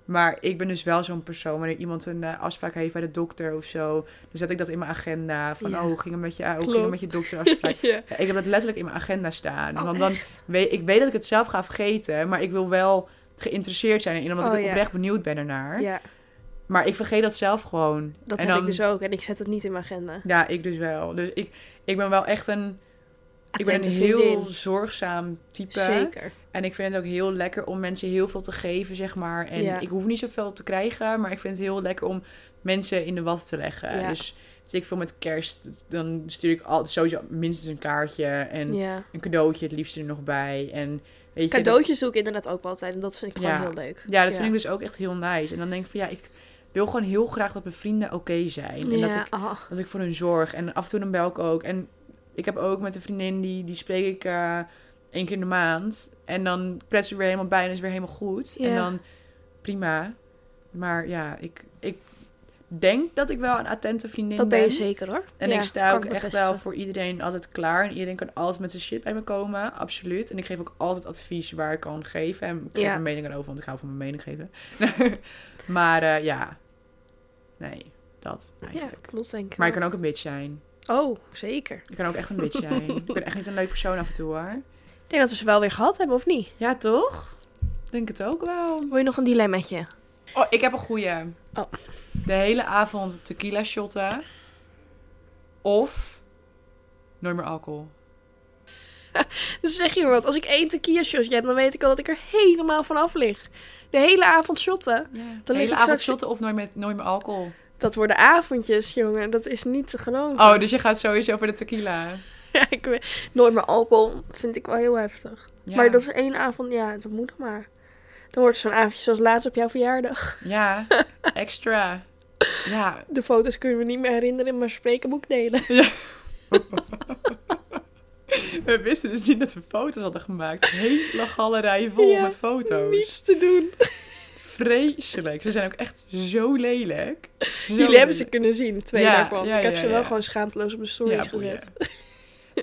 C: Maar ik ben dus wel zo'n persoon. Wanneer iemand een eh, afspraak heeft bij de dokter of zo, dan zet ik dat in mijn agenda. Van,
D: Ja.
C: oh, hoe ging het met je, hoe ging het
D: Klopt.
C: met je dokterafspraak?
D: Ja.
C: Ja, ik heb dat letterlijk in mijn agenda staan.
D: Oh,
C: want dan
D: echt?
C: weet ik weet dat ik het zelf ga vergeten, maar ik wil wel geïnteresseerd zijn in, omdat
D: Oh,
C: ik
D: ja.
C: oprecht benieuwd ben ernaar.
D: Ja,
C: Maar ik vergeet dat zelf gewoon.
D: dat
C: En
D: heb ik
C: dan-
D: dus ook. En ik zet het niet in mijn agenda.
C: ja, ik dus wel. Dus ik, ik ben wel echt een... Ik ben een
D: Attente
C: heel
D: vriendin.
C: zorgzaam type.
D: Zeker.
C: En ik vind het ook heel lekker om mensen heel veel te geven, zeg maar. En
D: Ja.
C: ik hoef niet zoveel te krijgen, maar ik vind het heel lekker om mensen in de wat te leggen.
D: Ja.
C: Dus als ik veel met kerst, dan stuur ik altijd sowieso minstens een kaartje en
D: Ja.
C: een cadeautje het liefst er nog bij. En weet je, dat-
D: Cadeautjes doe ik inderdaad ook wel altijd. En dat vind ik gewoon
C: Ja.
D: heel leuk.
C: ja, dat vind ik dus ook echt heel nice. En dan denk ik van ja, ik wil gewoon heel graag dat mijn vrienden oké zijn. En dat
D: ja. Ah,
C: ik dat ik voor hun zorg. En af en toe dan bel ik ook. En ik heb ook met een vriendin, die, die spreek ik eh, één keer in de maand. En dan kletsen we weer helemaal bij en is weer helemaal goed. En
D: Ja.
C: dan prima. Maar ja, ik, ik denk dat ik wel een attente vriendin
D: dat ben je
C: ben.
D: zeker hoor.
C: En
D: Ja,
C: ik sta
D: kan
C: ook echt
D: bevestigen.
C: wel voor iedereen altijd klaar. En iedereen kan altijd met zijn shit bij me komen. Absoluut. En ik geef ook altijd advies waar ik kan geven. En ik geef
D: Ja.
C: mijn mening aan over, want ik hou van mijn mening geven. maar eh, ja, nee, dat
D: Ja,
C: eigenlijk.
D: klopt denk ik.
C: Maar ik
D: wel.
C: kan ook een bitch zijn.
D: Oh, zeker.
C: Ik kan ook echt een bitch zijn. ik ben echt niet een leuk persoon af en toe hoor.
D: Ik denk dat we ze wel weer gehad hebben, of niet?
C: Ja, toch? Ik Denk het ook wel.
D: Wil je nog een dilemmaatje?
C: Oh, ik heb een goeie.
D: Oh.
C: De hele avond tequila shotten. Of nooit meer alcohol.
D: Dan zeg je maar wat. Als ik één tequila shotje heb, dan weet ik al dat ik er helemaal vanaf lig. De hele avond shotten.
C: Ja. De
D: lig ik
C: hele avond
D: straks-
C: shotten of nooit meer, nooit meer alcohol.
D: Dat worden avondjes, jongen. Dat is niet te geloven.
C: Oh, dus je gaat sowieso voor de tequila.
D: Ja, ik weet- Nooit meer alcohol vind ik wel heel heftig.
C: Ja.
D: Maar dat is één avond, ja, dat moet nog maar. Dan wordt het zo'n avondje zoals laatst op jouw verjaardag.
C: Ja, extra. Ja.
D: De foto's kunnen we niet meer herinneren, maar sprekenboek delen.
C: We wisten dus niet dat we foto's hadden gemaakt. Hele galerijen vol
D: Ja,
C: met foto's.
D: Niets te doen.
C: vreselijk. Ze zijn ook echt zo lelijk. Zo
D: Jullie hebben ze
C: lelijk.
D: kunnen zien, twee
C: Ja,
D: daarvan.
C: ja,
D: ik heb
C: ja,
D: ze wel
C: ja.
D: gewoon schaamteloos op de
C: Ja,
D: stories gezet.
C: boeien.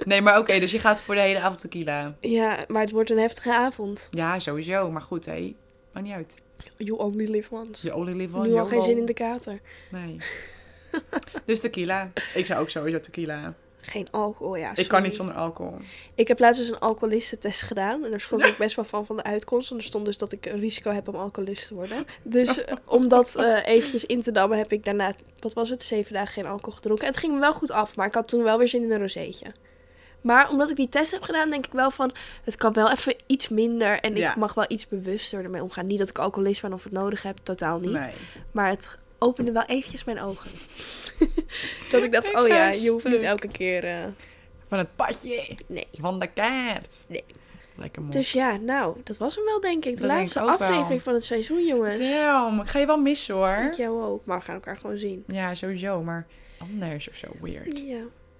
C: Nee, maar oké, dus je gaat voor de hele avond tequila.
D: Ja, maar het wordt een heftige avond.
C: Ja, sowieso. Maar goed, hé. Maakt niet uit.
D: You only live once.
C: Je only live one.
D: nu al
C: YOLO.
D: geen zin in de kater.
C: Nee. dus tequila. Ik zou ook sowieso tequila.
D: Geen alcohol, ja.
C: Ik kan
D: sorry.
C: niet zonder alcohol.
D: Ik heb laatst dus een alcoholistentest gedaan. En daar schrok ik best wel van van de uitkomst. En er stond dus dat ik een risico heb om alcoholist te worden. Dus eh, om dat eh, eventjes in te dammen heb ik daarna, wat was het, zeven dagen geen alcohol gedronken. En het ging me wel goed af, maar ik had toen wel weer zin in een rozeetje. Maar omdat ik die test heb gedaan, denk ik wel van, het kan wel even iets minder. En
C: Ja.
D: ik mag wel iets bewuster ermee omgaan. Niet dat ik alcoholist ben of het nodig heb, totaal niet.
C: Nee.
D: Maar het opende wel eventjes mijn ogen. dat ik dacht,
C: Ik
D: oh
C: ga
D: ja, je hoeft
C: stuk.
D: niet elke keer... eh,
C: Van het padje.
D: Nee.
C: Van de kaart.
D: Nee.
C: Lekker mooi.
D: Dus ja, nou, dat was hem wel, denk ik.
C: Dat
D: De
C: denk
D: laatste
C: ik ook
D: aflevering
C: wel.
D: van het seizoen, jongens.
C: Damn, ik ga je wel missen hoor.
D: Ik jou ook, maar we gaan elkaar gewoon zien.
C: Ja, sowieso, maar anders of zo. Weird.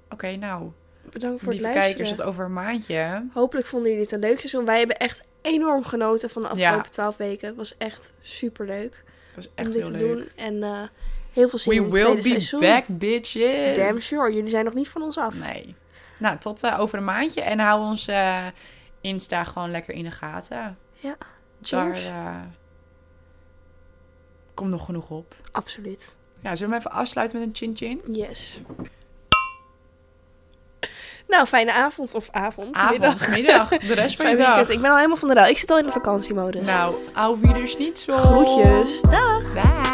C: Oké,
D: Ja,
C: nou.
D: bedankt voor
C: Lieve
D: het
C: kijkers,
D: luisteren.
C: tot over een maandje.
D: Hopelijk vonden jullie dit een leuk seizoen. Wij hebben echt enorm genoten van de
C: Ja.
D: afgelopen twaalf weken. Het was echt superleuk
C: Het was
D: om
C: echt
D: dit
C: heel
D: te
C: leuk.
D: doen. En eh, heel veel zin
C: We
D: in het
C: will
D: tweede
C: be
D: seizoen.
C: back, bitches.
D: Damn sure, jullie zijn nog niet van ons af.
C: Nee. Nou, tot eh, over een maandje. En hou ons eh, Insta gewoon lekker in de gaten.
D: Cheers.
C: Daar eh, komt nog genoeg op.
D: Absoluut.
C: Ja, zullen we hem even afsluiten met een chin-chin?
D: Yes. Nou, fijne avond of avond. middag.
C: Avond, middag, de rest van je
D: Fijn
C: dag.
D: weekend. Ik ben al helemaal van de rouw. Ik zit al in de vakantiemodus.
C: Nou, au wieder niet zo.
D: Groetjes. Dag.
C: Bye.